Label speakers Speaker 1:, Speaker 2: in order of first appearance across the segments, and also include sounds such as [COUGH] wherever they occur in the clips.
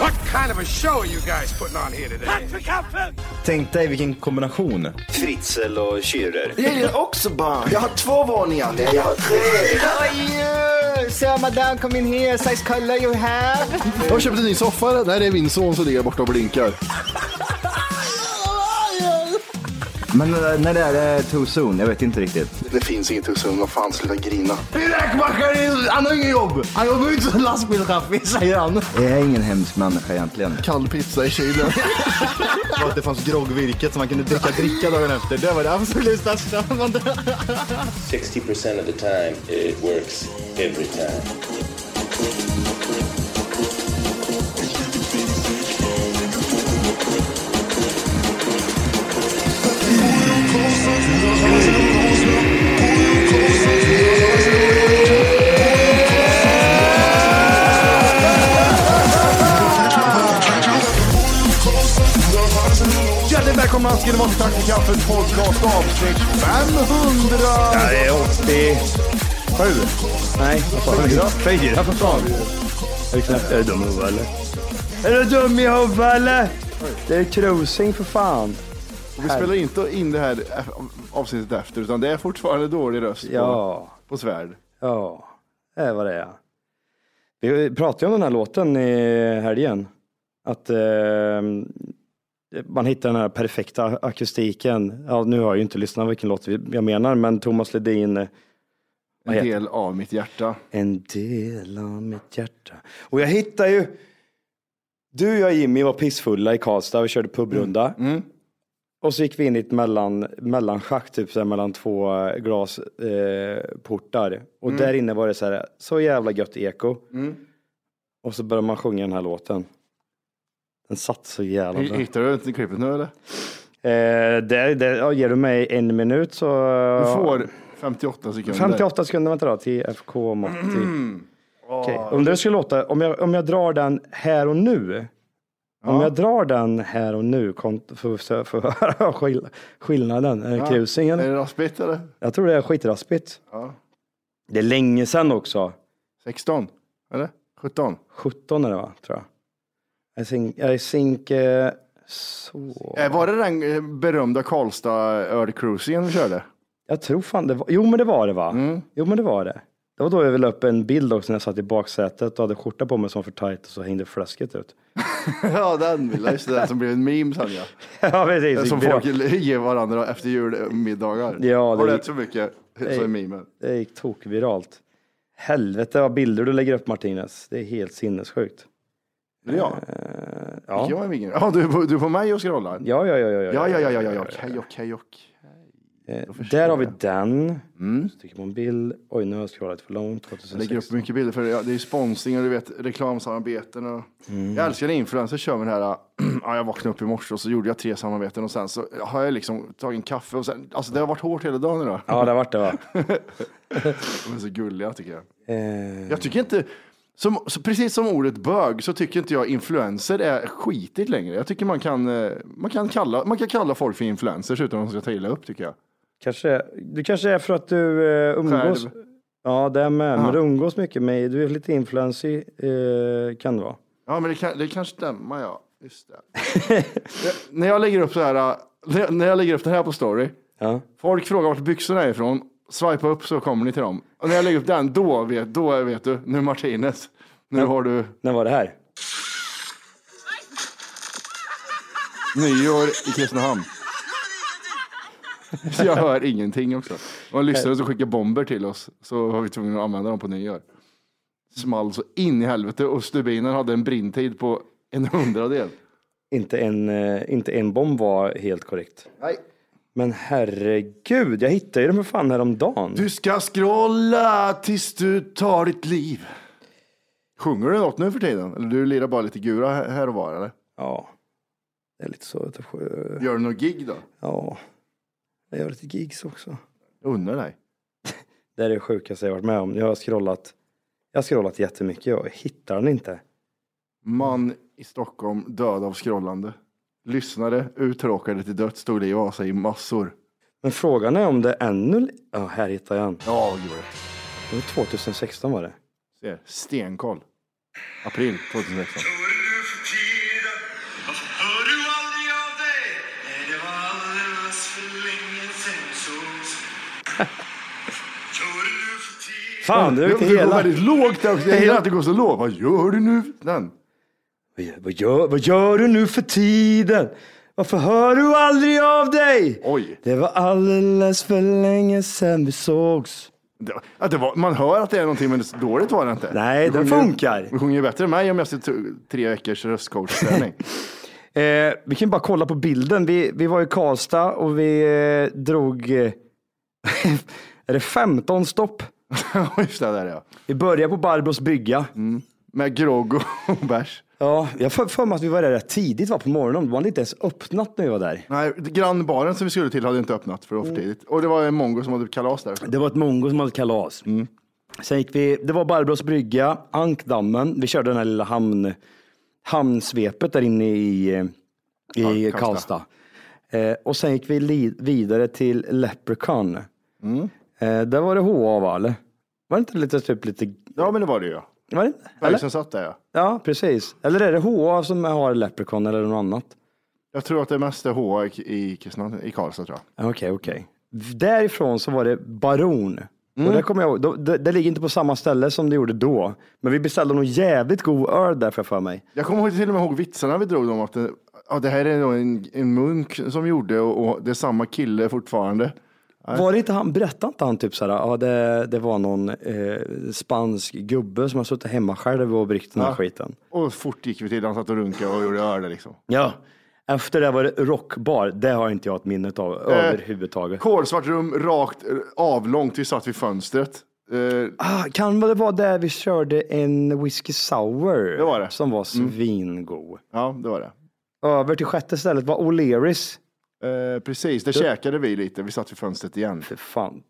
Speaker 1: What kind of a show are you guys putting on here today?
Speaker 2: Tänk dig vilken kombination.
Speaker 3: Fritzl och Schürrer.
Speaker 4: Jag gillar också barn. Jag har två våningar. Nej, jag har tre.
Speaker 5: How are you? So madame, come in here, size color you have.
Speaker 6: Jag har köpt en ny soffa. Där är min son som ligger borta och blinkar.
Speaker 2: Men eh, när det är det too soon? Jag vet inte riktigt.
Speaker 4: Det finns inget hos Vad fan, sluta grina.
Speaker 6: Min räkmackare, han har inget jobb. Han jobbar ju inte som lastbilschaffis, säger han.
Speaker 2: Jag är ingen hemsk människa egentligen.
Speaker 6: Kall pizza i kylen.
Speaker 2: Och att det fanns groggvirket som man kunde dricka dricka dagen efter. Det var det absolut största.
Speaker 3: 60% of the time, it works every time.
Speaker 1: Hjärtligt välkomna ska ni vara till Tack för kaffet podcast avsnitt 500!
Speaker 2: Det är 87. Nej, vad fan.
Speaker 1: Fyra.
Speaker 2: Fyra för fan. Jag är knappt jag är dum i huvudet eller? Är du dum i huvudet eller? Det är cruising för fan.
Speaker 6: Vi spelar inte in det här avsnittet efter, utan det är fortfarande dålig röst på,
Speaker 2: Ja,
Speaker 6: på svärd.
Speaker 2: ja. Det är vad det är. Vi pratade ju om den här låten i helgen. Att eh, man hittar den här perfekta akustiken. Ja, nu har jag ju inte lyssnat vilken låt vi- jag menar, men Thomas Ledin eh,
Speaker 6: En
Speaker 2: heter-
Speaker 6: del av mitt hjärta.
Speaker 2: En del av mitt hjärta. Och jag hittar ju... Du, jag och Jimmy var pissfulla i Karlstad. Vi körde pubrunda.
Speaker 6: Mm.
Speaker 2: Och så gick vi in i ett mellan, mellanschakt, typ så här, mellan två glasportar. Eh, portar. och
Speaker 6: Mm.
Speaker 2: där inne var det så här, så jävla gött eko. Och så började man sjunga den här låten. Den satt så jävla bra.
Speaker 6: Hittar du inte klippet nu eller?
Speaker 2: Eh, där, där, ja, ger du mig en minut så...
Speaker 6: Du får 58 sekunder.
Speaker 2: 58 sekunder, vänta då, till FK Matti.
Speaker 6: Mm.
Speaker 2: Okej, Om det skulle låta, om jag, om jag drar den här och nu. Om jag drar den här och nu, kon- för för- för att höra [LAUGHS] skill- skillnaden. Är det krusing
Speaker 6: Är
Speaker 2: eller?
Speaker 6: det raspigt eller?
Speaker 2: Jag tror det är skitraspigt.
Speaker 6: Ja.
Speaker 2: Det är länge sedan också.
Speaker 6: 16? Eller? 17?
Speaker 2: 17 är det va, tror jag. I think, I think eh, så.
Speaker 6: Eh, Var det den eh, berömda Karlstad-ölcruisingen vi
Speaker 2: [LAUGHS]
Speaker 6: körde?
Speaker 2: Jag tror fan det var, jo men det var det va?
Speaker 6: Mm.
Speaker 2: Jo men det var det. Det var då jag ville upp en bild också när jag satt i baksätet och hade skjorta på mig som var för tajt och så hängde fläsket ut.
Speaker 6: ja, den vill jag. Just det, där som blev en meme sen ja.
Speaker 2: ja precis.
Speaker 6: Som
Speaker 2: [LAUGHS] Det
Speaker 6: folk ger varandra efter julmiddagar.
Speaker 2: Ja, det-
Speaker 6: Har du ätit så mycket så är memen.
Speaker 2: Det gick tokviralt. Helvete vad bilder du lägger upp Martinez. Det är helt sinnessjukt.
Speaker 6: Är det jag?
Speaker 2: Eh,
Speaker 6: Ja.
Speaker 2: ja.
Speaker 6: Jag är ingen. Ja, du, är på- du är på mig och scrollar?
Speaker 2: Ja, ja, ja, ja,
Speaker 6: Ja, ja, ja, ja, ja, ja, okej, okej, okej.
Speaker 2: Eh, Där har vi den. Så trycker man bild. Oj, nu har jag scrollat för långt.
Speaker 6: Mm. Jag lägger upp
Speaker 2: 2016.
Speaker 6: mycket bilder för det. Ja, det är ju sponsring och du vet reklamsamarbeten. Och... Jag älskar när influencers kör med det här. [CLEARS THROAT] Ja, jag vaknade upp i morse och så gjorde jag tre samarbeten och sen så har jag liksom tagit en kaffe och sen, alltså det har varit hårt hela dagen idag. [CLEARS THROAT]
Speaker 2: Ja, det vart
Speaker 6: [LAUGHS]
Speaker 2: det va?
Speaker 6: De är så gulliga tycker jag.
Speaker 2: Eh,
Speaker 6: Jag tycker inte, som, så precis som ordet bög så tycker inte jag influencer är skitigt längre. Jag tycker man kan, eh, man kan, kalla, man kan kalla folk för influencers utan att de ska ta illa upp tycker jag.
Speaker 2: kanske, du kanske är för att du eh, umgås.
Speaker 6: Själv.
Speaker 2: Ja, det är med. Men du umgås mycket med, du är lite influencer, eh, kan det vara.
Speaker 6: Ja, men det kan, det kan stämma, ja. Just det. Jag- när, jag lägger upp så här, äh, när, jag, när jag lägger upp det här på story,
Speaker 2: Ja.
Speaker 6: folk frågar vart byxorna är ifrån. Swipa upp så kommer ni till dem. Och när jag lägger upp den, då vet, då vet du, nu Martinez. Nu har du
Speaker 2: När var det här?
Speaker 6: nyår i Kristinehamn. Så jag hör ingenting också. Och en lyssnare som skickar bomber till oss så var vi tvungna att använda dem på nyår. Small så in i helvete och stubinen hade en brintid på en hundradel.
Speaker 2: Inte en, eh, inte en bomb var helt korrekt.
Speaker 6: Nej.
Speaker 2: Men herregud, jag hittade ju dem för fan häromdagen.
Speaker 6: Du ska scrolla tills du tar ditt liv. Sjunger du något nu för tiden? Eller du lirar bara lite gura här och var eller?
Speaker 2: Ja. Det är lite så. att jag får-
Speaker 6: Gör du något gig då?
Speaker 2: Ja. Jag gör lite gigs också.
Speaker 6: Jag undrar dig.
Speaker 2: Det är det sjukaste jag varit med om. Jag har scrollat. Jag har scrollat jättemycket. Jag hittar den inte.
Speaker 6: Man i Stockholm död av scrollande. Lyssnare uttråkade till döds tog liv av sig i massor.
Speaker 2: Men frågan är om det ännu... li- Ja, här hittar jag den.
Speaker 6: Ja, vad gjorde det.
Speaker 2: Det var 2016 var det.
Speaker 6: Ser, stenkoll. April 2016.
Speaker 2: Fan, det är ju inte
Speaker 6: Du går
Speaker 2: hela.
Speaker 6: väldigt lågt där också. Jag gillar att det går så lågt. Vad gör du nu? Den.
Speaker 2: Vad gör- Vad gör, vad gör du nu för tiden? Varför hör du aldrig av dig?
Speaker 6: Oj.
Speaker 2: Det var alldeles för länge sedan vi sågs.
Speaker 6: Det, att det var, man hör att det är någonting, men så dåligt var det inte.
Speaker 2: Nej,
Speaker 6: Vi
Speaker 2: den
Speaker 6: sjunger-
Speaker 2: funkar.
Speaker 6: Vi sjunger ju bättre än mig om jag ser t- tre veckors röstcoachträning.
Speaker 2: Eh, vi kan ju bara kolla på bilden. Vi, vi var i Karlstad och vi eh, drog, eh, [LAUGHS] är det 15 stopp?
Speaker 6: Ja, [LAUGHS] Just det, där ja.
Speaker 2: Vi började på Barbros brygga.
Speaker 6: Med grogg och bärs.
Speaker 2: Ja, jag för, för mig att vi var där rätt tidigt va, på morgonen. De hade inte ens öppnat när vi var där.
Speaker 6: Nej, grannbaren som vi skulle till hade inte öppnat för det
Speaker 2: Mm.
Speaker 6: var för tidigt. Och det var en mongo som hade kalas där.
Speaker 2: Det var ett mongo som hade kalas. Sen gick vi, det var Barbros brygga, Ankdammen. Vi körde den här lilla hamn, hamnsvepet där inne i, eh, i
Speaker 6: Ja,
Speaker 2: Karlstad.
Speaker 6: Karlstad.
Speaker 2: Eh, och sen gick vi li, vidare till Leprechaun. Eh, där var det HA va, eller? Var det inte lite, typ lite,
Speaker 6: Ja, men det var det ju. ja.
Speaker 2: var det inte?
Speaker 6: Berg
Speaker 2: Eller?
Speaker 6: som satt där ja.
Speaker 2: Ja, precis. Eller är det HA som har Leprechaun eller något annat?
Speaker 6: Jag tror att det mesta är HA i- i, Kristinehamn- i Karlstad tror jag.
Speaker 2: Okej, okej. Därifrån så var det Baron.
Speaker 6: Mm.
Speaker 2: Och där kommer jag, ihåg, då- det, det ligger inte på samma ställe som det gjorde då. Men vi beställde nog jävligt god öl där får jag för mig.
Speaker 6: Jag kommer ihåg- till och med ihåg vitsarna vi drog om att det, ja, det här är nog en, en munk som gjorde och, och det är samma kille fortfarande.
Speaker 2: Var det inte han, berättade inte han typ såhär, ja det, det var någon eh, spansk gubbe som har suttit hemma själv och bryggt den här skiten.
Speaker 6: Och fort gick vi till, han satt och runkade och gjorde öl liksom.
Speaker 2: Ja. Efter det var det rockbar, det har inte jag ett minne av överhuvudtaget.
Speaker 6: Kolsvart rum, rakt, eh, avlångt, vi satt vid fönstret. Eh,
Speaker 2: Ah, kan det vara där vi körde en whisky sour?
Speaker 6: Det var det. Mm.
Speaker 2: Som var svingod.
Speaker 6: ja, det var det.
Speaker 2: Över till sjätte stället var O'Learys.
Speaker 6: Eh, precis, det käkade vi lite, vi satt vid fönstret igen.
Speaker 2: Fy fan.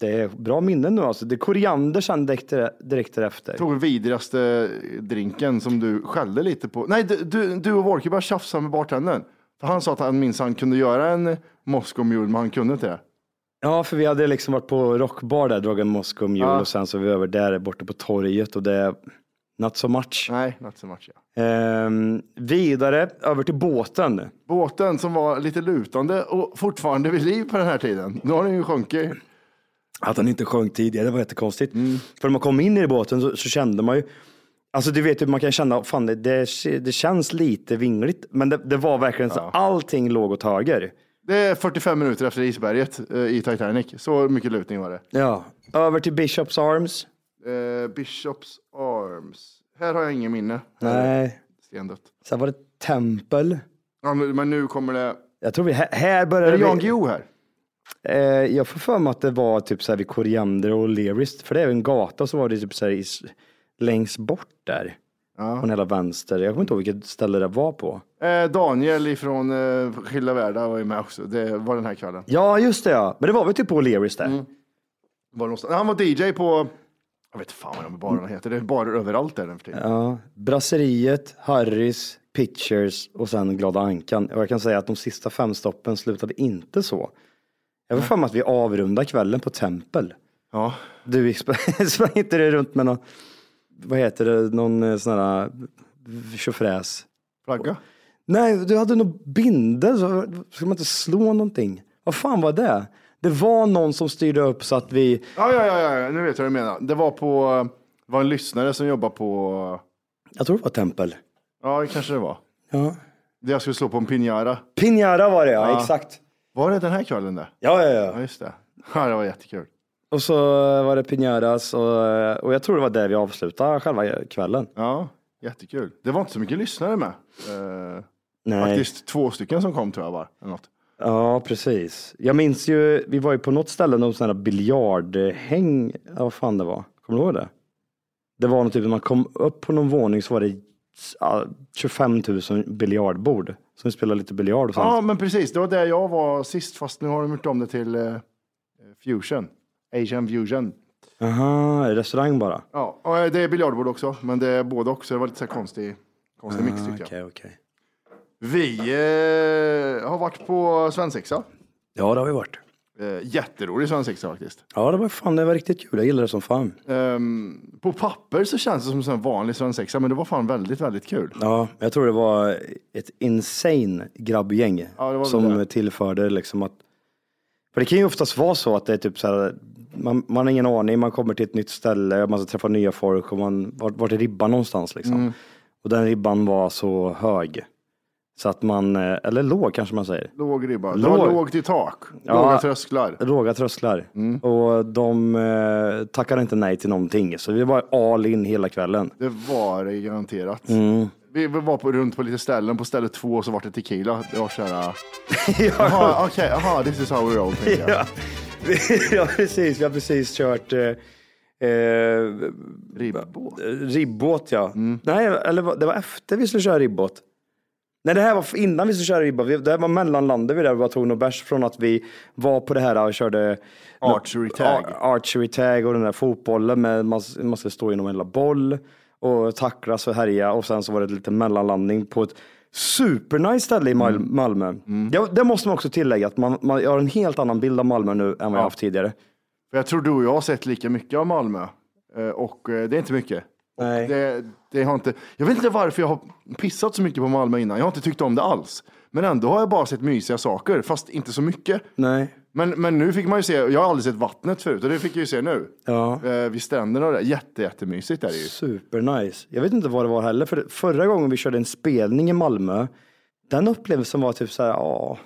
Speaker 2: Det är bra minnen nu alltså. Det är koriander sen direkt, direkt därefter.
Speaker 6: Tog den vidrigaste drinken som du skällde lite på. Nej, du, du, du och Wolke bara tjafsade med bartendern. För han sa att han minns han kunde göra en Moscow Mule, men han kunde inte det.
Speaker 2: Ja, för vi hade liksom varit på rockbar där, dragit en Moscow Mule
Speaker 6: Ja.
Speaker 2: och sen så var vi över där borta på torget och det är not so much.
Speaker 6: Nej, not so much. Ja.
Speaker 2: Ehm, vidare över till båten.
Speaker 6: Båten som var lite lutande och fortfarande vid liv på den här tiden. Nu har den ju sjunkit.
Speaker 2: Att han inte sjönk tidigare, det var jättekonstigt. För när man kom in i båten så, så kände man ju, alltså du vet ju, man kan känna, fan det, det, det känns lite vingligt. Men det, det var verkligen så, allting låg åt höger.
Speaker 6: Det är 45 minuter efter isberget eh, i Titanic. Så mycket lutning var det.
Speaker 2: Ja. Över till Bishops Arms.
Speaker 6: Eh, Bishops Arms. Här har jag ingen minne.
Speaker 2: Nej.
Speaker 6: Stendött.
Speaker 2: Sen var det Tempel.
Speaker 6: Ja, men men nu kommer det.
Speaker 2: Jag tror vi, här, här började
Speaker 6: Är det Jan
Speaker 2: vi.
Speaker 6: Guillou här?
Speaker 2: Eh, jag får för mig att det var typ så här vid Koriander och Lerist. För det är ju en gata så var det typ så här i, s- längst bort där. Från hela vänster. Jag kommer inte ihåg vilket ställe det var på.
Speaker 6: Eh, Daniel ifrån eh, Skilda Världar var ju med också. Det var den här kvällen.
Speaker 2: Ja, just det ja. Men det var väl typ på Lerist där.
Speaker 6: Mm. Var det någonstans- Han var DJ på, jag vet fan vad de barerna heter. Det är barer överallt där den för tiden.
Speaker 2: Mm. Ja. Brasseriet, Harris, Pictures och sen Glada Ankan. Och jag kan säga att de sista fem stoppen slutade inte så. Jag får för mig att vi avrundade kvällen på Tempel.
Speaker 6: Ja.
Speaker 2: [LAUGHS] Du gick sp- sprang inte du runt med någon, vad heter det, någon eh, sån här tjofräs.
Speaker 6: Flagga?
Speaker 2: Nej, du hade nog bindel. så Ska man inte slå någonting? Vad fan var det? Det var någon som styrde upp så att vi...
Speaker 6: Ja, ja, ja, ja, nu vet jag vad du menar. Det var på, det var en lyssnare som jobbade på,
Speaker 2: Jag tror det var tempel.
Speaker 6: ja det kanske det var.
Speaker 2: Ja.
Speaker 6: Det jag skulle slå på en pinjara.
Speaker 2: Pinjara var det ja, exakt.
Speaker 6: Var det den här kvällen det?
Speaker 2: Ja, ja, ja.
Speaker 6: Ja, just det. Ja, det var jättekul.
Speaker 2: Och så var det pinjaras och, och jag tror det var där vi avslutade själva kvällen.
Speaker 6: Ja, jättekul. Det var inte så mycket lyssnare med. Eh,
Speaker 2: Nej.
Speaker 6: faktiskt två stycken som kom tror jag bara. Eller något.
Speaker 2: Ja, precis. Jag minns ju, vi var ju på något ställe, någon sån här biljardhäng, ja, vad fan det var. Kommer du ihåg det? Det var något typ, när man kom upp på någon våning så var det ja, 25 000 biljardbord. Så vi spelade lite biljard och sånt.
Speaker 6: Ja, men precis. Det var där jag var sist, fast nu har de gjort om det till eh, Fusion. Asian Fusion.
Speaker 2: Aha, restaurang bara?
Speaker 6: Ja, och eh, det är biljardbord också, men det är både också. Det var lite så här konstig, konstig mix tyckte jag.
Speaker 2: Ah, Okej, okej.
Speaker 6: Vi eh, har varit på svensexa.
Speaker 2: Ja, det har vi varit.
Speaker 6: Eh, jätterolig svensexa faktiskt.
Speaker 2: Ja, det var fan, det var riktigt kul. Jag gillade det som fan.
Speaker 6: Ehm, på papper så känns det som en sån här vanlig svensexa, men det var fan väldigt, väldigt kul.
Speaker 2: Ja, jag tror det var ett insane grabbgäng
Speaker 6: Ja, det var väl
Speaker 2: som
Speaker 6: det.
Speaker 2: tillförde liksom att... För det kan ju oftast vara så att det är typ så här, man, man har ingen aning, man kommer till ett nytt ställe, man ska träffa nya folk och man, vart, vart är ribban någonstans liksom? Och den ribban var så hög. Så att man, eh, eller låg kanske man säger.
Speaker 6: Låg ribba. Det var
Speaker 2: Låg.
Speaker 6: lågt i tak.
Speaker 2: Ja.
Speaker 6: Låga trösklar.
Speaker 2: Låga trösklar. Och de eh, tackade inte nej till någonting. Så vi var all in hela kvällen.
Speaker 6: Det var det garanterat.
Speaker 2: Mm.
Speaker 6: Vi vi var på, runt på lite ställen. På ställe två så var det tequila. Det var så
Speaker 2: [LAUGHS]
Speaker 6: här... äh, Jaha, okej. Jaha, this is how we roll. tänkte jag.
Speaker 2: Ja, [LAUGHS] ja precis. Vi har precis kört eh, eh,
Speaker 6: Ribbåt.
Speaker 2: ribbåt. Ja. Nej, eller vad- det var efter vi skulle köra ribbåt. Nej, det här var f- innan vi skulle köra ribbåt. Vi- Det här var mellanlandet vi där vi bara tog några bärs från att vi var på det här och körde
Speaker 6: Archery tag.
Speaker 2: Ar- archery tag och den där fotbollen med man, s- man ska stå inom en jävla boll och tacklas och härja och sen så var det lite mellanlandning på ett supernice ställe i Mal-
Speaker 6: Mm.
Speaker 2: Malmö. Det, det måste man också tillägga att man, man jag har en helt annan bild av Malmö nu än vad jag haft tidigare.
Speaker 6: För jag tror du och jag har sett lika mycket av Malmö. Eh, Och eh, det är inte mycket. Och
Speaker 2: Nej.
Speaker 6: Det, det har inte, jag vet inte varför jag har pissat så mycket på Malmö innan. Jag har inte tyckt om det alls. Men ändå har jag bara sett mysiga saker, fast inte så mycket.
Speaker 2: Nej.
Speaker 6: Men, men nu fick man ju se, jag har aldrig sett vattnet förut och det fick jag ju se nu.
Speaker 2: Ja.
Speaker 6: Eh, vid stränderna och det, jätte, jättemysigt är det ju.
Speaker 2: Supernice. Jag vet inte vad det var heller. För förra gången vi körde en spelning i Malmö, den upplevelsen var typ så här, ja,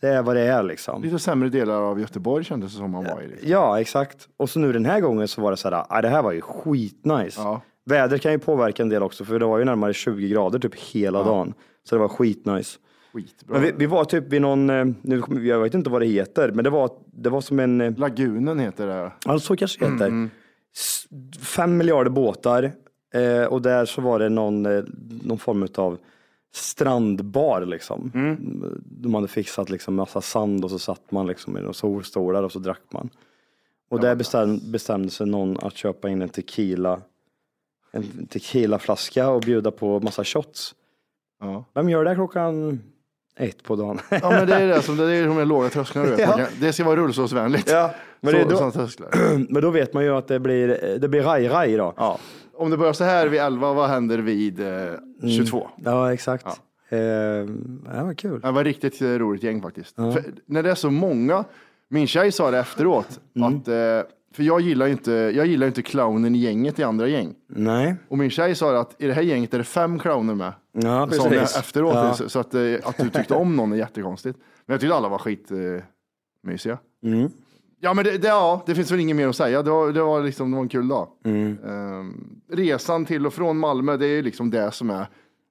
Speaker 2: det är vad det är liksom.
Speaker 6: Lite sämre delar av Göteborg kändes det som man var i. Liksom.
Speaker 2: Ja, exakt. Och så nu den här gången så var det så här, ah, det här var ju skitnice.
Speaker 6: Ja.
Speaker 2: Väder kan ju påverka en del också, för det var ju närmare 20 grader typ hela dagen. Så det var skitnice.
Speaker 6: Skitbra.
Speaker 2: Men vi, vi var typ vid någon, eh, nu, kommer- jag vet inte vad det heter, men det var, det var som en, eh,
Speaker 6: Lagunen heter det.
Speaker 2: ja så kanske det heter, S- fem miljarder båtar eh, och där så var det någon, eh, någon form av strandbar liksom. De hade fixat liksom massa sand och så satt man liksom i några solstolar och så drack man. Och där bestäm, bestämde sig någon att köpa in en tequila, en tequilaflaska och bjuda på massa shots.
Speaker 6: Ja.
Speaker 2: Vem gör det klockan ett på dagen? [LAUGHS]
Speaker 6: Ja, men det är det som, det är de där låga trösklarna [LAUGHS] du vet. Man
Speaker 2: Ja.
Speaker 6: kan- Det ska vara rullstolsvänligt.
Speaker 2: Ja, men
Speaker 6: så,
Speaker 2: det är då-
Speaker 6: sådana trösklar.
Speaker 2: Men då vet man ju att det blir, det blir raj-raj då.
Speaker 6: Ja. Om det börjar så här vid 11, vad händer vid eh, 22?
Speaker 2: Ja, exakt. Ja. det var kul.
Speaker 6: Det var ett riktigt eh, roligt gäng faktiskt. För när det är så många, min tjej sa det efteråt, att, eh, för jag gillar ju inte, jag gillar ju inte clownen i gänget i andra gäng.
Speaker 2: Nej.
Speaker 6: Och min tjej sa att i det här gänget är det fem clowner med.
Speaker 2: Ja,
Speaker 6: Sa hon
Speaker 2: precis.
Speaker 6: efteråt.
Speaker 2: Ja.
Speaker 6: Så, så att, eh, att du tyckte om någon är jättekonstigt. Men jag tyckte alla var skitmysiga. Eh, mysiga.
Speaker 2: Mm.
Speaker 6: Ja, men det, det, ja, det finns väl inget mer att säga. Det var, det var, liksom, det var en kul dag.
Speaker 2: Mm.
Speaker 6: Ehm, resan till och från Malmö, det är ju liksom det som är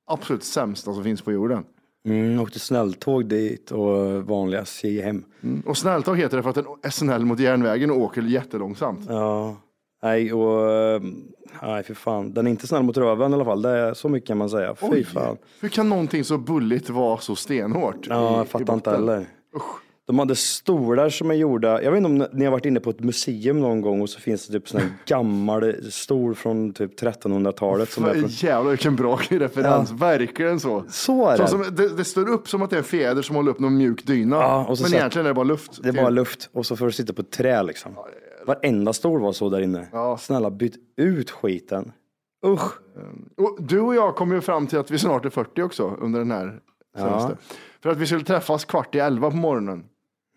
Speaker 6: absolut sämsta som finns på jorden.
Speaker 2: Mm, åkte snälltåg dit och vanliga SJ hem.
Speaker 6: Och snälltåg heter det för att den är snäll mot järnvägen och åker jättelångsamt.
Speaker 2: Ja. Nej, och... eh, Nej, för fan. Den är inte snäll mot röven i alla fall. Det är så mycket kan man säga. Fy fan.
Speaker 6: Hur kan någonting så bulligt vara så stenhårt?
Speaker 2: Ja,
Speaker 6: i-
Speaker 2: jag
Speaker 6: i
Speaker 2: fattar
Speaker 6: botten?
Speaker 2: inte heller. De hade stolar som är gjorda, jag vet inte om ni har varit inne på ett museum någon gång och så finns det typ sån här
Speaker 6: [LAUGHS]
Speaker 2: gammal stol från typ 1300-talet. Som är
Speaker 6: Vad
Speaker 2: från...
Speaker 6: Jävlar vilken bra [LAUGHS] referens, verkligen så.
Speaker 2: Så är
Speaker 6: så
Speaker 2: det.
Speaker 6: Som, det. Det står upp som att det är en fjäder som håller upp någon mjuk dyna.
Speaker 2: Ja, och så
Speaker 6: men
Speaker 2: satt-
Speaker 6: egentligen är det bara luft. typ.
Speaker 2: Det är bara luft och så får du sitta på ett trä liksom. Varenda stol var så där inne. Snälla byt ut skiten. Usch.
Speaker 6: Och du och jag kom ju fram till att vi snart är 40 också under den här semestern. För att vi skulle träffas kvart i elva på morgonen.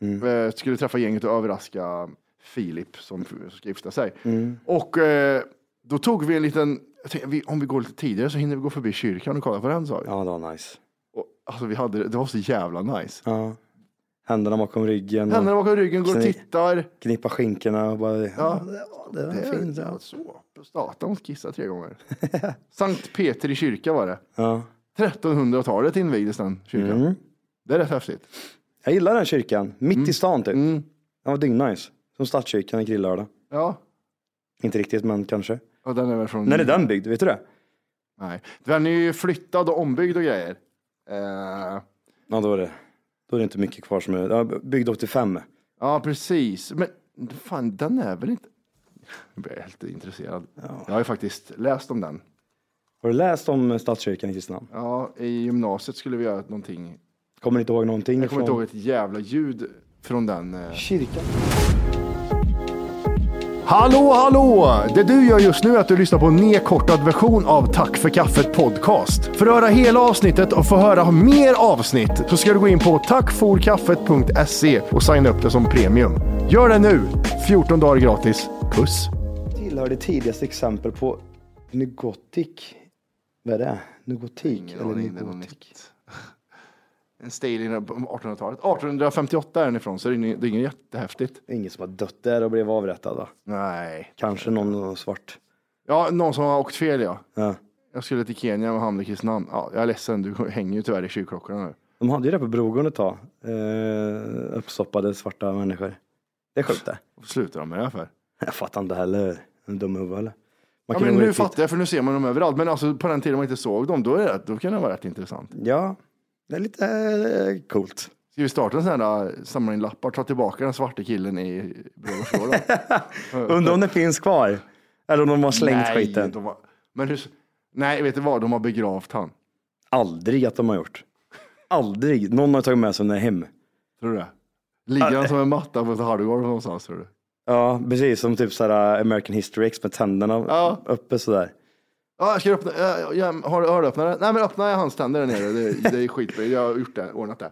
Speaker 2: Mm.
Speaker 6: Eh, skulle träffa gänget och överraska Filip som ska gifta sig.
Speaker 2: Mm.
Speaker 6: Och eh, då tog vi en liten, jag tänkte, vi, om vi går lite tidigare så hinner vi gå förbi kyrkan och kolla på den sa vi.
Speaker 2: Ja, det var nice.
Speaker 6: Och, alltså, vi hade, det- det var så jävla nice.
Speaker 2: Ja. Händerna bakom ryggen. och-
Speaker 6: Händerna bakom ryggen, går och
Speaker 2: Sen-
Speaker 6: tittar.
Speaker 2: knippa skinkorna och bara... Ja, det var, det
Speaker 6: Det
Speaker 2: var fint.
Speaker 6: är så. Prostata, hon kissade tre
Speaker 2: [LAUGHS]
Speaker 6: gånger. Sankt Peter i kyrka var det.
Speaker 2: Ja. Mm.
Speaker 6: 1300-talet invigdes den kyrkan. Det är rätt häftigt.
Speaker 2: Jag gillar den kyrkan. Mitt i stan typ. Den var dyngnice. Som Stadskyrkan i Grillörda.
Speaker 6: Ja,
Speaker 2: Inte riktigt, men kanske.
Speaker 6: och den är väl från...
Speaker 2: När är den byggd? Vet du det?
Speaker 6: Nej. Den är ju flyttad och ombyggd och grejer. Eh,
Speaker 2: Ja, då är det, då är det inte mycket kvar som är... Ja, byggd 85.
Speaker 6: ja, precis. Men fan, den är väl inte... Nu blir jag helt intresserad. Jag har ju faktiskt läst om den.
Speaker 2: Har du läst om Stadskyrkan i Kristinehamn?
Speaker 6: Ja, I gymnasiet skulle vi göra någonting.
Speaker 2: Kommer inte ihåg någonting?
Speaker 6: Jag kommer inte
Speaker 2: från-
Speaker 6: ihåg ett jävla ljud från den. eh.
Speaker 2: Kyrkan.
Speaker 6: Hallå, hallå! Det du gör just nu är att du lyssnar på en nedkortad version av Tack för kaffet podcast. För att höra hela avsnittet och få höra mer avsnitt så ska du gå in på tackforkaffet.se och signa upp det som premium. Gör det nu! 14 dagar gratis. Puss!
Speaker 2: Tillhör det tidigaste exempel på nugotik. Vad är det? Nugotik? eller nugotik?
Speaker 6: En stil i 1800-talet. 1858 är den ifrån, så det är inget det är inget jättehäftigt.
Speaker 2: Det är ingen som har dött där och blev avrättad va?
Speaker 6: Nej.
Speaker 2: Kanske någon svart.
Speaker 6: Ja, någon som har åkt fel ja.
Speaker 2: Ja.
Speaker 6: Jag skulle till Kenya och hamnade i Kristinehamn. Ja, jag är ledsen, du hänger ju tyvärr i kyrkklockorna nu.
Speaker 2: De hade ju det på Brogården ett tag. Eh, uppstoppade svarta människor. Det är sjukt det.
Speaker 6: Varför slutar de med det här för?
Speaker 2: Jag fattar inte heller. En dum huvud eller? Man
Speaker 6: Ja,
Speaker 2: kunde
Speaker 6: men
Speaker 2: gå
Speaker 6: nu
Speaker 2: riktigt-
Speaker 6: fattar jag, för nu ser man dem överallt. Men alltså, på den tiden man inte såg dem, då, är det, då kan det vara rätt intressant.
Speaker 2: Ja, det är lite eh, coolt.
Speaker 6: Ska vi starta en sån här äh, samla in lappar, ta tillbaka den svarte killen i [LAUGHS] bröllopslådan?
Speaker 2: Undrar om det finns kvar. Eller om de har slängt skiten.
Speaker 6: de har- men hur, nej, vet du vad? De har begravt han.
Speaker 2: Aldrig att de har gjort. Aldrig. Någon har tagit med sig den hem.
Speaker 6: Tror du det? Ligger han som en matta på ett hallgolv någonstans, tror du?
Speaker 2: Ja, precis som typ såhär American History X med tänderna
Speaker 6: Ja.
Speaker 2: uppe sådär.
Speaker 6: Ja, jag ska öppna, jag, jag, har du öronöppnare? Nej, men öppna hans tänder där nere. Det, det är skitbra. Jag har gjort det, ordnat det.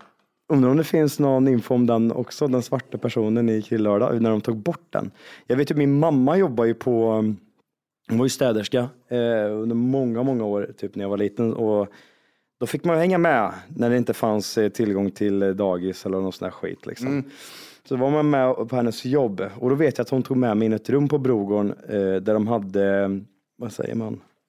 Speaker 2: Undrar om det finns någon info om den också, den svarta personen i Krillördag, när de tog bort den. Jag vet ju, min mamma jobbar ju på, um, hon var ju städerska eh, under många, många år, typ när jag var liten. Och då fick man ju hänga med när det inte fanns eh, tillgång till eh, dagis eller någon sån här skit. Liksom. Så var man med på hennes jobb och då vet jag att hon tog med mig in i ett rum på Brogården eh, där de hade, eh, vad säger man,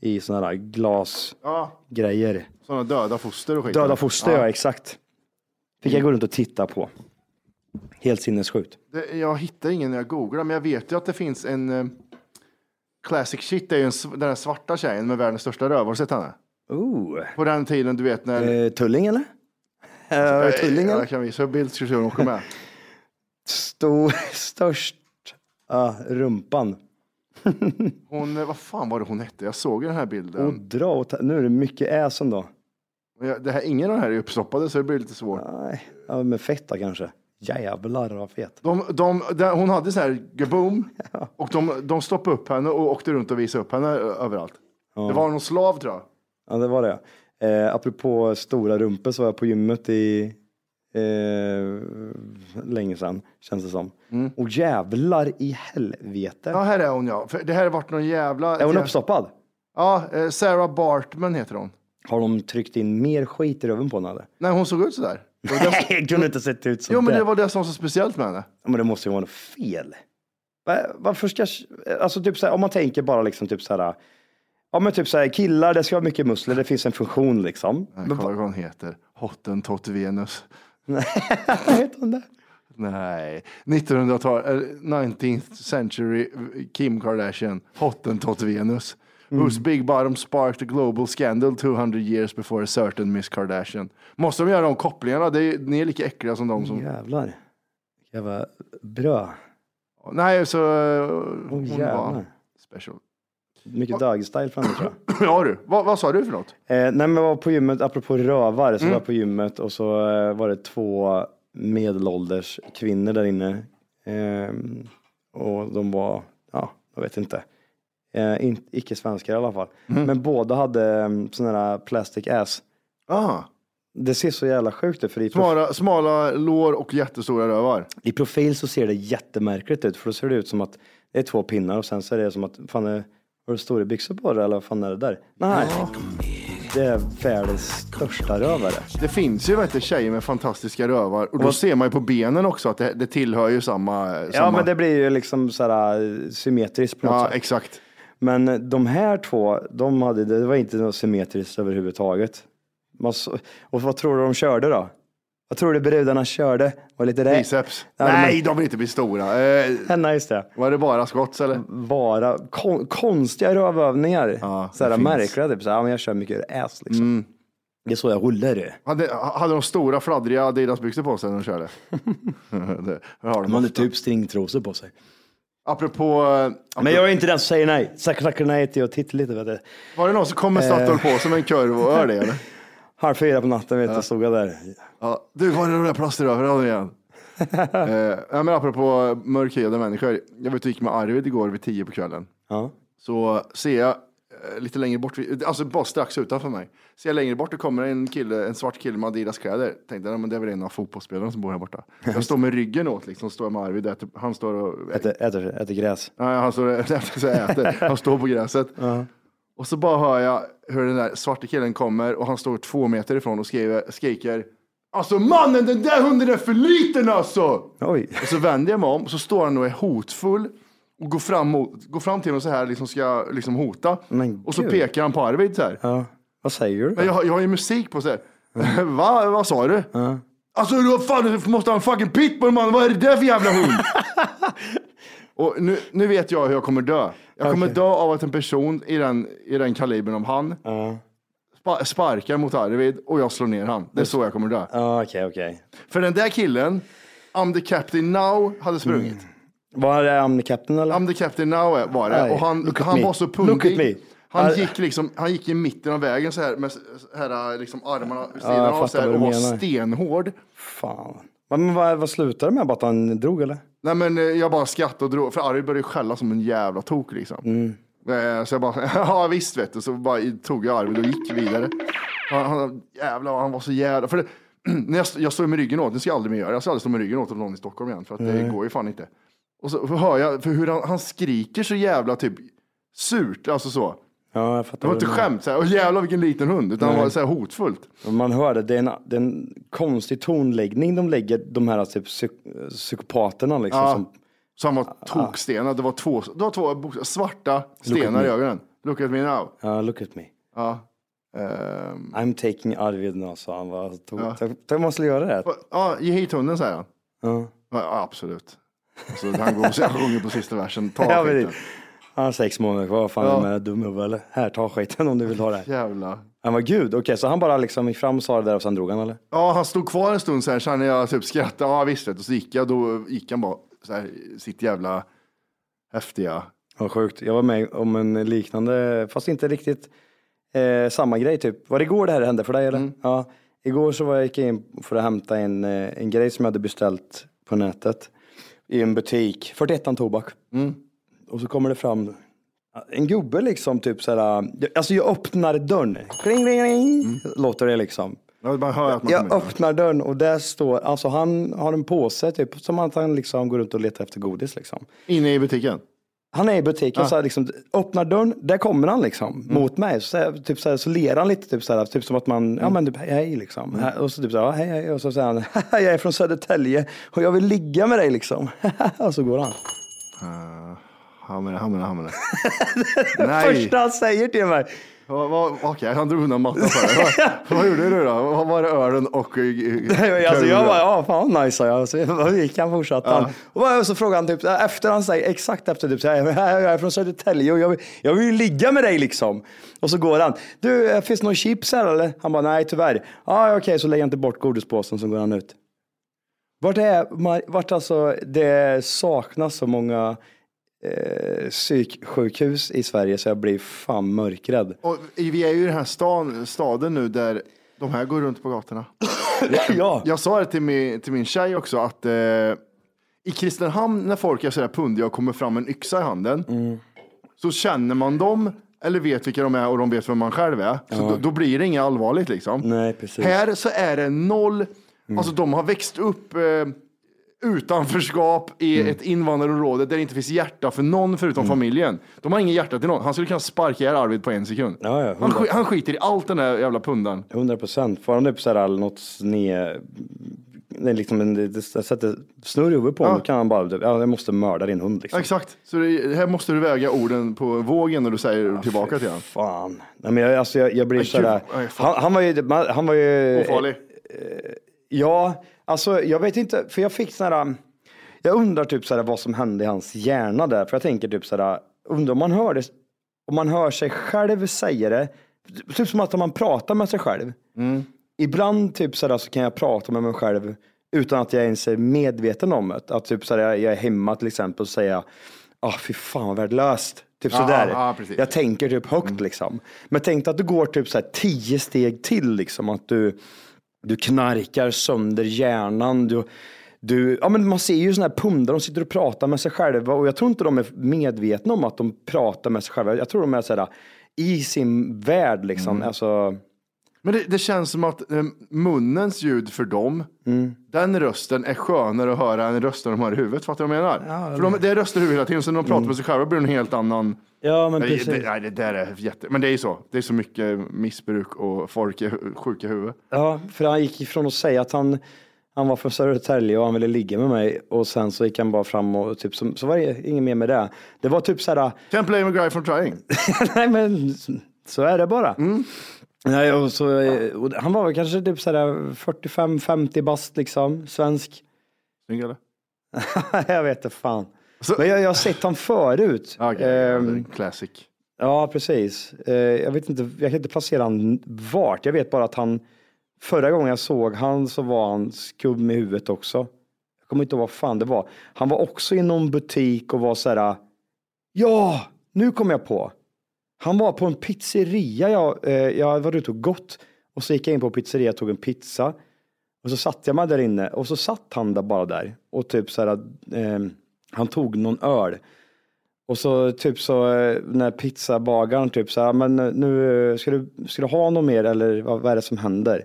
Speaker 2: i sådana här glasgrejer.
Speaker 6: Ja, sådana döda foster och skit.
Speaker 2: Döda foster, ja. exakt. Fick jag gå runt och titta på. Helt sinnessjukt.
Speaker 6: Det, jag hittar ingen när jag googlar, men jag vet ju att det finns en... eh, classic shit är ju en, sv- den där svarta tjejen med världens största röv. Har du sett henne?
Speaker 2: Ooh.
Speaker 6: På den tiden, du vet när...
Speaker 2: Eh, tulling eller? Eh, tulling
Speaker 6: Ja,
Speaker 2: eller?
Speaker 6: Jag kan visa en bild så ska vi se om hon kommer med.
Speaker 2: [LAUGHS] Stor, störst ah, rumpan.
Speaker 6: Hon, eh, vad fan var det hon hette? Jag såg ju den här bilden.
Speaker 2: [LAUGHS] Och dra åt, nu är det mycket äsen då.
Speaker 6: Men jag- Det här, ingen av de här är uppstoppade så det blir lite svårt.
Speaker 2: Nej, ja, med fetta kanske. Jävlar vad fet.
Speaker 6: De, de, där- hon hade så här
Speaker 2: [LAUGHS]
Speaker 6: gaboom och de, de stoppade upp henne och åkte runt och visade upp henne ö- överallt. Det var någon slav tror jag.
Speaker 2: Ja, det var det. Eh, apropå stora rumpor så var jag på gymmet i eh, länge sedan, känns det som. Och jävlar i helvete.
Speaker 6: Mm. Ja, här är hon ja. För det här har varit någon jävla...
Speaker 2: Är hon uppstoppad?
Speaker 6: Ja, eh, Sarah Bartman heter hon.
Speaker 2: Har de tryckt in mer skit i röven på henne eller?
Speaker 6: Nej, hon såg ut sådär.
Speaker 2: Nej, [LAUGHS] jag kunde inte sett ut så
Speaker 6: Jo, men
Speaker 2: där.
Speaker 6: det var det som var så speciellt med henne.
Speaker 2: Ja, Men det måste ju vara något fel. Va- Varför ska, alltså typ så här, om man tänker bara liksom typ så här, ja men typ så här, killar det ska ha mycket muskler, det finns en funktion liksom.
Speaker 6: Nej, Kolla vad hon heter. Hottentott Venus.
Speaker 2: Vet hon det?
Speaker 6: Nej, 1900-tal, eh, 19th century eh, Kim Kardashian, Hottentott Venus.
Speaker 2: Mm.
Speaker 6: Whose big bottom sparked a global scandal 200 years before a certain Miss Kardashian. Måste de göra de kopplingarna? Det är, ni är lika äckliga som de som...
Speaker 2: Jävlar. Jävla bra.
Speaker 6: Nej, så... eh,
Speaker 2: Åh
Speaker 6: hon var
Speaker 2: jävlar.
Speaker 6: special. [CLEARS THROAT]
Speaker 2: Mycket dagstyle framme tror jag.
Speaker 6: ja du, vad, vad sa du för något?
Speaker 2: [CLEARS THROAT] Eh, nej men jag Mm. var på gymmet, apropå rövare, så var jag på gymmet och så eh, var det två medelålders kvinnor där inne. Eh, och de var, ja, jag vet inte. Eh, in, icke svenskar i alla fall. Men båda hade um, sådana här plastic ass. Ah.
Speaker 6: Aha.
Speaker 2: Det ser så jävla sjukt ut för i, prof-
Speaker 6: Smala, smala lår och jättestora rövar.
Speaker 2: i profil så ser det jättemärkligt ut för då ser det ut som att det är två pinnar och sen så är det som att, fan är, har du stora byxor på dig eller vad fan är det där? Nej, det är världens största rövare.
Speaker 6: Det finns ju vet du, tjejer med fantastiska rövar och då ser man ju på benen också att det, det tillhör ju samma.
Speaker 2: Ja,
Speaker 6: samma...
Speaker 2: men det blir ju liksom så här eh, symmetriskt på något
Speaker 6: Ja,
Speaker 2: sätt.
Speaker 6: exakt.
Speaker 2: Men eh, de här två, de hade, det var inte något symmetriskt överhuvudtaget. Man så, och vad tror du de körde då? Vad tror du brudarna körde? Var lite det?
Speaker 6: Biceps.
Speaker 2: Eh, Ja,
Speaker 6: Nej,
Speaker 2: men-
Speaker 6: de vill inte bli stora. Eh,
Speaker 2: Ja, nej, just det.
Speaker 6: var det bara skotts eller?
Speaker 2: Bara kon, konstiga rövövningar.
Speaker 6: Ja,
Speaker 2: så här
Speaker 6: det finns.
Speaker 2: märkliga, typ så här, ja, men jag kör mycket ass liksom. Det är så jag rullar det.
Speaker 6: Hade, hade de stora fladdriga Adidas-byxor på sig när de körde? [LAUGHS] det har de
Speaker 2: De hade
Speaker 6: ofta.
Speaker 2: typ stringtrosor på sig.
Speaker 6: Apropå, eh, apropå
Speaker 2: Men jag är inte den som säger nej. Tack- Tackar nej till att titta lite. Vet du.
Speaker 6: var det någon som kom med
Speaker 2: Eh.
Speaker 6: Statoil på som en kurv och hör det eller?
Speaker 2: Halv fyra på natten vet du, stod jag där.
Speaker 6: Ja, du, var är de där plaströren igen? eh, ja, men apropå mörkhyade människor. Jag var ute och gick med Arvid igår vid tio på kvällen.
Speaker 2: Ja.
Speaker 6: Så ser jag eh, lite längre bort, vid- alltså bara strax utanför mig. Ser jag längre bort, det kommer en kille, en svart kille med Adidas kläder. Tänkte, "Ja, men det är väl en av fotbollsspelarna som bor här borta. Jag står med ryggen åt liksom, står med Arvid, äter, han står och...
Speaker 2: Äter, äter, äter gräs.
Speaker 6: Nej, han står och så [LAUGHS] jag äter. Han står på gräset. Och så bara hör jag hur den där svarta killen kommer och han står två meter ifrån och skriver, skriker Alltså mannen, den där hunden är för liten alltså!
Speaker 2: Oj.
Speaker 6: Och så vänder jag mig om och så står han och är hotfull och går fram, mot, går fram till mig så här, liksom ska liksom hota.
Speaker 2: Men
Speaker 6: och så
Speaker 2: gud.
Speaker 6: pekar han på Arvid så här.
Speaker 2: Ja. Vad säger du?
Speaker 6: Men jag, har- jag har ju musik på så här. [LAUGHS] Va, vad sa du? Alltså du vad fan, du måste ha en fucking pitbull man, vad är det där för jävla hund? och nu, nu vet jag hur jag kommer dö. Jag kommer dö av att en person i den, i den kalibern om han spa, sparkar mot Arvid och jag slår ner han. Det är så jag kommer dö.
Speaker 2: Ja, okej, okej.
Speaker 6: För den där killen, I'm the captain now, hade sprungit.
Speaker 2: Var det Amnekapten eller?
Speaker 6: I'm the captain now eh, var det.
Speaker 2: Nej,
Speaker 6: och han,
Speaker 2: look at
Speaker 6: han
Speaker 2: me.
Speaker 6: var så
Speaker 2: Look at me. Äh.
Speaker 6: pundig. Han
Speaker 2: Ar-
Speaker 6: gick, liksom, han gick i mitten av vägen så här med s- s- här, liksom armarna vid sidan
Speaker 2: jag
Speaker 6: av så
Speaker 2: fattar
Speaker 6: här,
Speaker 2: vad
Speaker 6: och
Speaker 2: du
Speaker 6: var
Speaker 2: menar.
Speaker 6: stenhård.
Speaker 2: Fan. Men vad, vad slutade det med? Bara att han drog eller?
Speaker 6: Nej, men eh, jag bara skrattade och drog, för Arvid började skälla som en jävla tok liksom.
Speaker 2: Mm.
Speaker 6: Eh, Så jag bara, [LAUGHS] ja visst vet du, så bara tog jag Arvid och gick vidare. Han, han, jävlar, vad han var så jävla... För det, [CLEARS THROAT] när jag, st- jag står med ryggen åt, det ska jag aldrig mer göra, jag ska aldrig stå med ryggen åt någon i Stockholm igen, för att det går ju fan inte. Och så hör jag för hur han, han skriker så jävla typ surt, alltså så.
Speaker 2: Ja, jag fattar.
Speaker 6: Det var
Speaker 2: vad
Speaker 6: inte
Speaker 2: du menar.
Speaker 6: skämt, så här, "Åh, jävlar vilken liten hund, utan det var så här hotfullt.
Speaker 2: typ- Man hörde, det är, en, det är en konstig tonläggning de lägger, de här typ psyk- psykopaterna liksom.
Speaker 6: Ja.
Speaker 2: Som, Ah.
Speaker 6: Så han var tokstenad, det var två, det var två bok- svarta stenar i ögonen. Look at me now.
Speaker 2: ja, look at me.
Speaker 6: Ja. Ehm,
Speaker 2: I'm taking Arvid now, sa han. Va? Tog, tog, tog, man skulle göra det.
Speaker 6: ja, ge hit hunden, säger han.
Speaker 2: Ja.
Speaker 6: Ja, absolut. Alltså, han går och han sjunger på sista versen. Ta
Speaker 2: [LAUGHS] Ja,
Speaker 6: skiten.
Speaker 2: precis. Han har sex månader kvar, vad fan
Speaker 6: Ja.
Speaker 2: är det med dig, dum huvud eller? Här, ta skiten om du vill ha det. här.
Speaker 6: Jävla.
Speaker 2: Han var gud, okej, så han bara liksom gick fram och sa det där och sen drog han eller?
Speaker 6: Ja, han stod kvar en stund så här, sen när jag typ skrattade. Ja, visst. vet du. Och så gick jag, då gick han bara så här, sitt jävla häftiga.
Speaker 2: Vad sjukt. Jag var med om en liknande, fast inte riktigt eh, samma grej typ. Var det igår det här hände för dig eller? Ja. Igår så var jag gick jag in för att hämta en, eh, en grej som jag hade beställt på nätet i en butik, 41 Tobak. Och så kommer det fram en eh, gubbe liksom typ såhär, alltså jag öppnar dörren, kling, kling, kling, låter det liksom.
Speaker 6: Jag bara hör att man
Speaker 2: Jag
Speaker 6: kommer in.
Speaker 2: öppnar dörren och där står, alltså han har en påse typ, som att han liksom går runt och letar efter godis liksom.
Speaker 6: Inne i butiken?
Speaker 2: Han är i butiken, så här, liksom, öppnar dörren, där kommer han liksom mot mig. Så, här, typ, så, här, så ler han lite, typ, så här, typ som att man, ja men typ, hej liksom. Och så typ så här, ja, hej, hej. Och så säger han, [LAUGHS] jag är från Södertälje och jag vill ligga med dig liksom. [LAUGHS] och så går han.
Speaker 6: Uh, han menar, han menar,
Speaker 2: [LAUGHS]
Speaker 6: han menar. Nej.
Speaker 2: Första han säger till mig,
Speaker 6: Vad- vad- Okej, han drog undan mattan för dig.
Speaker 2: [LAUGHS]
Speaker 6: Vad, vad gjorde du då? Vad var det ölen och... eh, eh,
Speaker 2: alltså jag
Speaker 6: kulan?
Speaker 2: bara, ja fan vad nice sa jag. Så jag gick han fortsatte han. Och bara- så frågade han typ, efter han säger, exakt efter typ, så här, [LAUGHS] jag är från Södertälje och jag vill, jag vill ju ligga med dig liksom. Och så går han, du eh, finns det någon chips här eller? Han bara, nej tyvärr. Ja okej, så lägger han inte bort godispåsen så går han ut. Vart är, Mar- vart alltså, det saknas så många eh, psyksjukhus i Sverige så jag blir fan mörkrädd.
Speaker 6: Och vi är ju i den här stan, staden nu där de här går runt på gatorna.
Speaker 2: ja.
Speaker 6: Jag sa det till min, till min tjej också att eh, i Kristinehamn när folk är sådär pundiga och kommer fram med en yxa i handen så känner man dem eller vet vilka de är och de vet vem man själv är. Så då, då blir det inget allvarligt liksom.
Speaker 2: Nej, precis. Mm.
Speaker 6: Här så är det noll, alltså de har växt upp eh, utanförskap i
Speaker 2: Mm.
Speaker 6: ett invandrarområde där det inte finns hjärta för någon förutom familjen. De har ingen hjärta till någon. Han skulle kunna sparka ihjäl Arvid på en sekund.
Speaker 2: Ja, ja,
Speaker 6: han, sk- han skiter i allt den där jävla pundan.
Speaker 2: 100 procent. Får han upp så här all- något sne... Det är liksom en, det, det sätter snurr i huvudet på honom.
Speaker 6: Ja.
Speaker 2: Då kan han bara, typ, ja, jag måste mörda din hund liksom.
Speaker 6: Exakt, så det, här måste du väga orden på vågen när du säger tillbaka till honom.
Speaker 2: Fan. Nej, men jag, alltså, jag, jag blir
Speaker 6: Men
Speaker 2: så där.
Speaker 6: gud, nej, fan.
Speaker 2: Han, han var ju... man- Han var ju
Speaker 6: Ofarlig.
Speaker 2: Ja, alltså jag vet inte, för jag fick sådana jag undrar typ sådär vad som hände i hans hjärna där, för jag tänker typ sådär, undrar om man hör det, om man hör sig själv säga det, typ som att man pratar med sig själv.
Speaker 6: Mm.
Speaker 2: Ibland typ sådär så kan jag prata med mig själv utan att jag ens är medveten om det. Att typ sådär, jag är hemma till exempel och säger, ah fy fan vad värdelöst. Typ
Speaker 6: Ja,
Speaker 2: sådär.
Speaker 6: ja, precis. Mm.
Speaker 2: jag tänker typ högt liksom. Men tänk dig att du går typ såhär tio steg till liksom, att du du knarkar sönder hjärnan. Du, du, ja, men man ser ju såna här pundar, de sitter och pratar med sig själva och jag tror inte de är medvetna om att de pratar med sig själva. Jag tror de är sådär, i sin värld liksom. Alltså,
Speaker 6: Men det, det känns som att eh, munnens ljud för dem, den rösten är skönare att höra än rösten de har i huvudet. Fattar du vad jag menar? för de, det är röster i huvudet hela tiden, så när de pratar med sig själva blir det en helt annan...
Speaker 2: ja, men
Speaker 6: Nej,
Speaker 2: precis.
Speaker 6: det, nej, det där är jätte... Men det är ju så. Det är så mycket missbruk och folk är sjuka i huvudet.
Speaker 2: Ja, för han gick ifrån att säga att han, han var från Södertälje och han ville ligga med mig och sen så gick han bara fram och typ, så, så var det inget mer med det. Det var typ sådär,
Speaker 6: Can't blame a guy for trying.
Speaker 2: [LAUGHS] Nej men så är det bara. Nej, och så, eh, och han var väl kanske typ sådär 45-50 bast liksom, svensk.
Speaker 6: Snygg eller?
Speaker 2: [LAUGHS] jag vet inte fan.
Speaker 6: Så-
Speaker 2: Men jag, jag har sett honom förut.
Speaker 6: Ah, Okej,
Speaker 2: Ehm,
Speaker 6: det är en classic.
Speaker 2: ja, precis. Eh, jag, vet inte, jag kan inte placera han vart. Jag vet bara att han, förra gången jag såg han så var han skum i huvudet också. Jag kommer inte ihåg vad fan det var. Han var också i någon butik och var sådär, ja, nu kom jag på. Han var på en pizzeria. Jag, eh, jag var ute och gått och så gick jag in på en pizzeria och tog en pizza. Och så satte jag mig där inne och så satt han där bara där och typ så här, eh, han tog någon öl. Och så typ så eh, när pizzabagaren typ så här, men eh, nu eh, ska du, ska du ha något mer eller vad, vad är det som händer?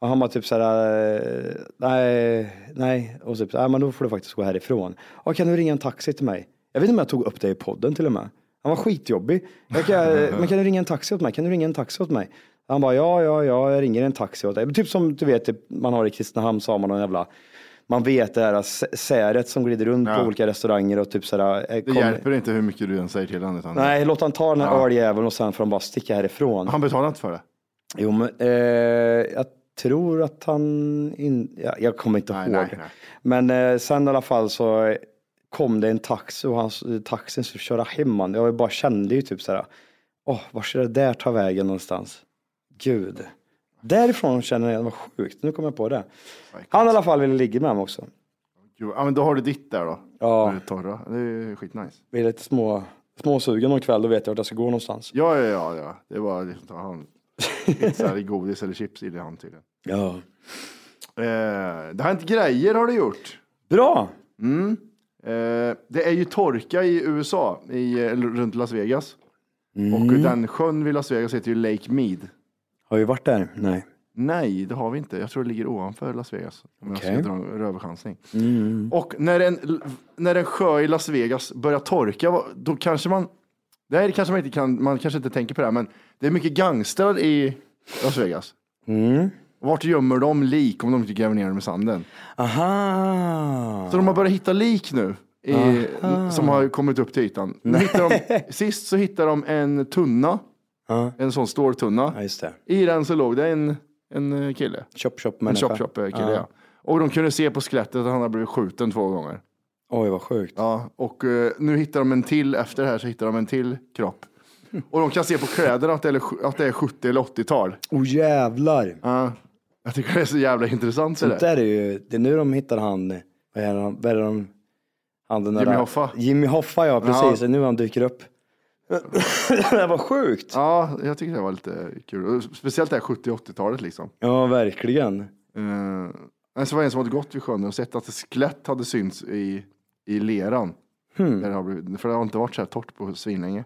Speaker 2: Och han var typ så här, eh, nej, nej, och så typ så här, "Nej, men då får du faktiskt gå härifrån. Och kan du ringa en taxi till mig? Jag vet inte om jag tog upp dig i podden till och med. Han var skitjobbig. Jag kan, eh, men kan du ringa en taxi åt mig? Kan du ringa en taxi åt mig? Han bara, ja, ja, ja, jag ringer en taxi åt dig. Typ som du vet, typ, man har i Kristinehamn så har man någon jävla, man vet det här s- säret som glider runt på
Speaker 6: Ja.
Speaker 2: olika restauranger och typ så här. eh,
Speaker 6: Det
Speaker 2: kom-
Speaker 6: hjälper inte hur mycket du än säger till honom. utan-
Speaker 2: Nej, låt han ta den här
Speaker 6: Ja.
Speaker 2: öljäveln och sen får han bara sticka härifrån.
Speaker 6: Han betalar inte för det.
Speaker 2: Jo, men eh, jag tror att han... In... Ja, jag kommer inte
Speaker 6: Nej,
Speaker 2: ihåg.
Speaker 6: nej, nej.
Speaker 2: Men eh, sen i alla fall så kom det en taxi och han, taxin skulle köra hem han. Jag bara kände ju typ så här, åh, var ska det där ta vägen någonstans? Gud. Därifrån känner jag, vad sjukt, nu kommer jag på det. Han i alla fall ville ligga med mig också.
Speaker 6: Jo, ja, men då har du ditt där då.
Speaker 2: Ja.
Speaker 6: Det är torra. Det är skitnice.
Speaker 2: Vi är lite små, småsugen någon kväll, då vet jag vart jag ska gå någonstans.
Speaker 6: Ja, ja, ja, ja. Det var liksom ta hand. Inte så här i godis eller chips i hand tydligen.
Speaker 2: Ja.
Speaker 6: Eh, det har hänt grejer har det gjort.
Speaker 2: Bra!
Speaker 6: Eh, det är ju torka i USA, i, eh, runt Las Vegas. Och den sjön vid Las Vegas heter ju Lake Mead.
Speaker 2: Har vi varit där? Nej.
Speaker 6: Nej, det har vi inte. Jag tror det ligger ovanför Las Vegas. Om
Speaker 2: Okej. Mm.
Speaker 6: jag ska dra en röverchansning. Och när en, när en sjö i Las Vegas börjar torka, vad- då kanske man... Det här kanske man inte kan, man kanske inte tänker på det här, men det är mycket gangstrar i Las Vegas.
Speaker 2: Mm.
Speaker 6: Vart gömmer de lik om de inte gräver ner dem i sanden?
Speaker 2: Aha.
Speaker 6: Så de har börjat hitta lik nu i, som har kommit upp till ytan. Nu hittar de, sist så hittade de en tunna,
Speaker 2: Ja.
Speaker 6: en sån ståltunna.
Speaker 2: Ja, just det.
Speaker 6: I den så låg det en, en eh, kille.
Speaker 2: Chop chop
Speaker 6: En
Speaker 2: människa.
Speaker 6: chop chop eh, kille ja. Och de kunde se på skelettet att han hade blivit skjuten två gånger.
Speaker 2: Oj, vad sjukt.
Speaker 6: Ja, och eh, nu hittar de en till, efter det här så hittar de en till [LAUGHS] kropp. Och de kan se på kläderna att det är, att det är 70 eller 80-tal.
Speaker 2: Åh Oh, jävlar.
Speaker 6: Ja. jag tycker det är så jävla intressant. Så
Speaker 2: Sånt
Speaker 6: det.
Speaker 2: där är ju, det är nu de hittar han, vad är han, vad är de, han den där,
Speaker 6: Jimmy Hoffa.
Speaker 2: Jimmy Hoffa ja, precis. Det är nu han dyker upp. [LAUGHS] det där var sjukt. Ja,
Speaker 6: Ja, jag tycker det var lite kul. Och Speciellt det här 70-80-talet liksom.
Speaker 2: verkligen.
Speaker 6: Eh, men så var det en som hade gått vid sjön och sett att ett skelett hade synts i, i leran. Där det har blivit, för det har inte varit så här torrt på svinlänge.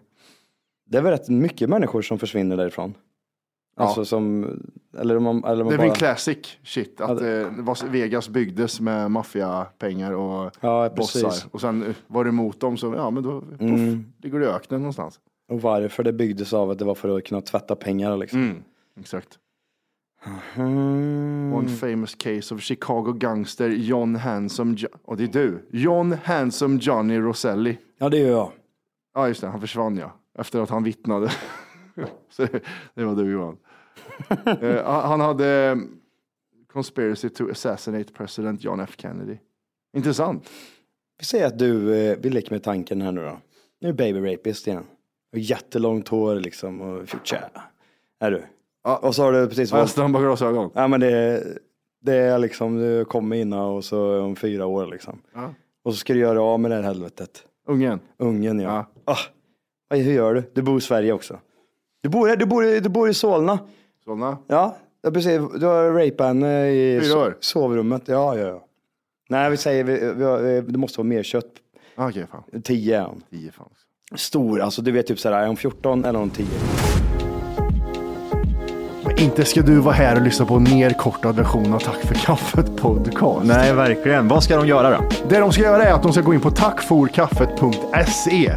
Speaker 2: Det är väl rätt mycket människor som försvinner därifrån. Alltså som, eller om man, eller om
Speaker 6: Det
Speaker 2: man
Speaker 6: blir en
Speaker 2: bara.
Speaker 6: classic shit. Att eh, Las Vegas byggdes med maffiapengar och
Speaker 2: Ja, precis. Mm.
Speaker 6: bossar. Och sen eh, var det emot dem så, ja men då, puff, ligger det i öknen någonstans.
Speaker 2: Och varför det byggdes av att det var för att kunna tvätta pengar liksom.
Speaker 6: Exakt.
Speaker 2: Mm.
Speaker 6: One famous case of Chicago gangster John Handsome, jo- och det är du. John Handsome Johnny Roselli.
Speaker 2: Ja, det gör jag.
Speaker 6: Ja, just det. Han försvann ja. Efter att han vittnade. [LAUGHS] så det, det var du
Speaker 2: [LAUGHS]
Speaker 6: Johan. Eh, han han hade eh, conspiracy to assassinate president John F Kennedy. Intressant.
Speaker 2: Vi säger att du, eh, vi leker med tanken här nu då. Nu är baby rapist igen. Och jättelångt hår liksom och tja. Är du?
Speaker 6: Ja.
Speaker 2: Och så har du precis
Speaker 6: Har jag
Speaker 2: varit.
Speaker 6: snabba glasögon?
Speaker 2: Ja men det, det är liksom, du kommer innan och så om fyra år liksom.
Speaker 6: Ja.
Speaker 2: Och så ska du göra av med det här helvetet.
Speaker 6: Ungen.
Speaker 2: Ungen ja.
Speaker 6: Ja.
Speaker 2: Ah, vad- hur gör du? Du bor i Sverige också. Du bor, här- du bor, i- du bor i Solna.
Speaker 6: Sådana.
Speaker 2: Ja, ja, precis. Du har rapat henne i
Speaker 6: Fyra
Speaker 2: so-
Speaker 6: år.
Speaker 2: sovrummet. Ja, ja, ja. Nej, vi säger, vi, vi, har- det måste vara mer kött.
Speaker 6: Ah, Okej, fan.
Speaker 2: Tio är han.
Speaker 6: Tio fan.
Speaker 2: stor, alltså du vet typ såhär, är hon 14 eller är hon 10?
Speaker 6: Men inte ska du vara här och lyssna på en nerkortad version av Tack för kaffet podcast.
Speaker 7: Nej, verkligen. Vad ska de göra då?
Speaker 6: Det de ska göra är att de ska gå in på tackforkaffet.se.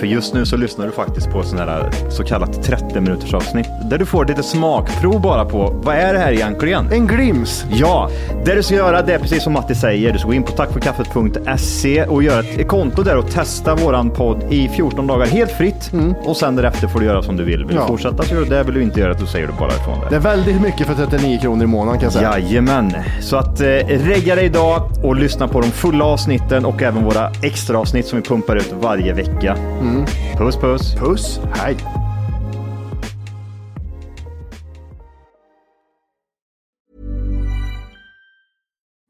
Speaker 7: För just nu så lyssnar du faktiskt på sån här eh, så kallat 30 minuters avsnitt där du får lite smakprov bara på vad är det här egentligen?
Speaker 6: En glims.
Speaker 7: Ja, det du ska göra det är precis som Matti säger. Du ska gå in på tackforkaffet.se och göra ett konto där och testa våran podd i 14 dagar helt fritt. Och sen därefter får du göra som du vill. Vill
Speaker 6: Mm. Ja.
Speaker 7: du fortsätta så gör du det. Vill du inte göra det så säger du bara ifrån det.
Speaker 6: Det är väldigt mycket för 39 kronor i månaden kan jag säga.
Speaker 7: Jajamän, så att eh, regga dig idag och lyssna på de fulla avsnitten och även våra extra avsnitt som vi pumpar ut varje vecka.
Speaker 6: Mm.
Speaker 7: Puss puss!
Speaker 6: Puss, hej.